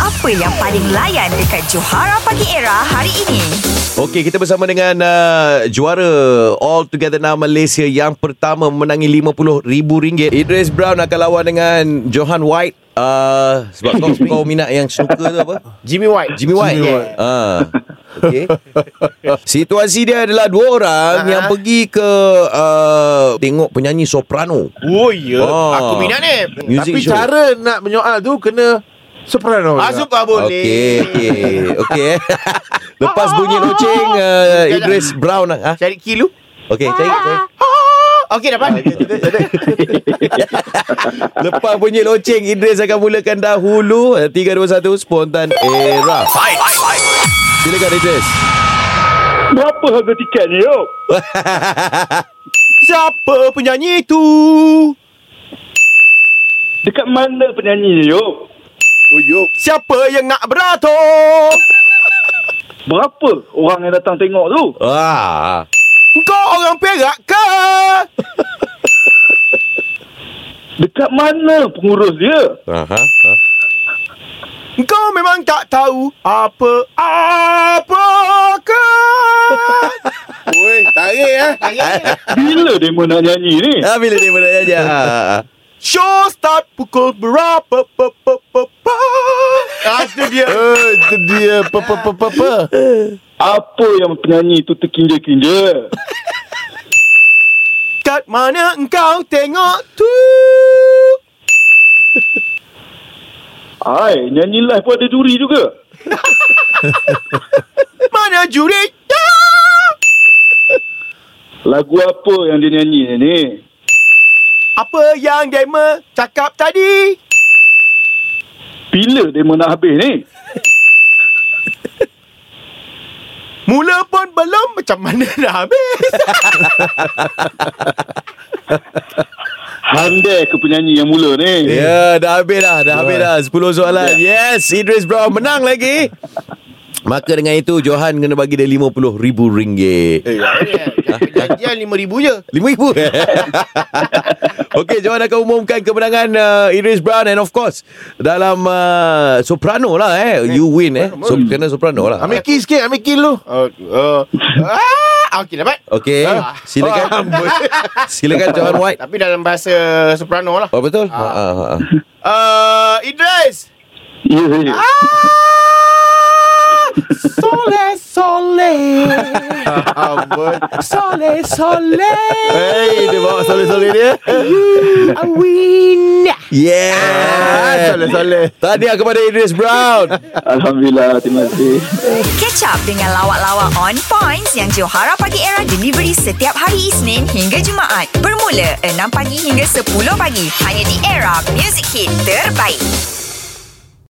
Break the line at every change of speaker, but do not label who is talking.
Apa yang paling layan dekat Johara Pagi Era hari ini?
Okey, kita bersama dengan uh, juara All Together Now Malaysia yang pertama memenangi RM50,000. Idris Brown akan lawan dengan Johan White. Uh, sebab kau, kau minat yang snooker tu apa?
Jimmy White.
Jimmy White.
Jimmy White.
Ah. Okey. Situasi dia adalah dua orang
Ah.
yang pergi ke uh, tengok penyanyi soprano.
Oh ya.
Ah.
Aku minat ni.
Music
Tapi
show.
cara nak menyoal tu kena soprano. juga.
Masuk pun boleh.
Okey, okey. Okey. eh. Lepas bunyi loceng uh, Idris Brown ah.
Cari kilu.
Okey, cari cari.
Ah. Okey dapat.
Lepas bunyi loceng Idris akan mulakan dahulu 3, 2, 1 Spontan Era Silakan Idris
Berapa harga tiket ni, yo?
Siapa penyanyi tu?
Dekat mana penyanyi ni, yo?
Oh, yo.
Siapa yang nak berato?
Berapa orang yang datang tengok tu?
Wah
Kau orang Perak ke?
Dekat mana pengurus dia?
Aha.
Kau memang tak tahu apa-apa ke?
Oi, tarik eh.
Bila demo nak nyanyi ni?
Ah, bila dia berat aja.
Show start pukul berapa? Pa, pa, pa, pa. Ah, itu dia.
Eh, itu dia pe pe pe pe pe.
Apa yang penyanyi tu terkinja-kinja?
Kat mana engkau tengok tu?
Hai, nyanyi live pun ada juri juga.
Mana juri?
Lagu apa yang dia nyanyi ni?
Apa yang Dema cakap tadi?
Bila demo nak habis ni?
Mula pun belum macam mana dah habis.
Handai ke penyanyi yang mula ni?
Ya, dah habis dah. Dah habis dah. 10 soalan. Yes, Idris Brown menang lagi. Maka dengan itu Johan kena bagi dia RM50,000.
Eh, janjian RM5,000 je.
RM5,000 Okey Johan akan umumkan kemenangan uh, Idris Brown And of course Dalam uh, Soprano lah eh You win eh so, Kena Soprano lah
Ambil key sikit, ambil key Oh. lu.
Oh, oh. Ah, okey dapat.
Okey Silakan Silakan Johan White
Tapi dalam bahasa soprano lah.
Oh betul ah. Ah, ah, ah.
Uh, Idris.
Ya, ya.
Ah, sole, sole.
Ah, Amboi.
Sole, sole.
Hey, dia bawa sole-sole dia.
You are winner.
Ah,
Yeah
sole-sole.
Tahniah kepada Idris Brown
Alhamdulillah, terima kasih.
Catch up dengan lawak-lawak on points yang Johara Pagi Era delivery setiap hari Isnin hingga Jumaat. Bermula 6 pagi hingga 10 pagi. Hanya di Era Music Hit Terbaik.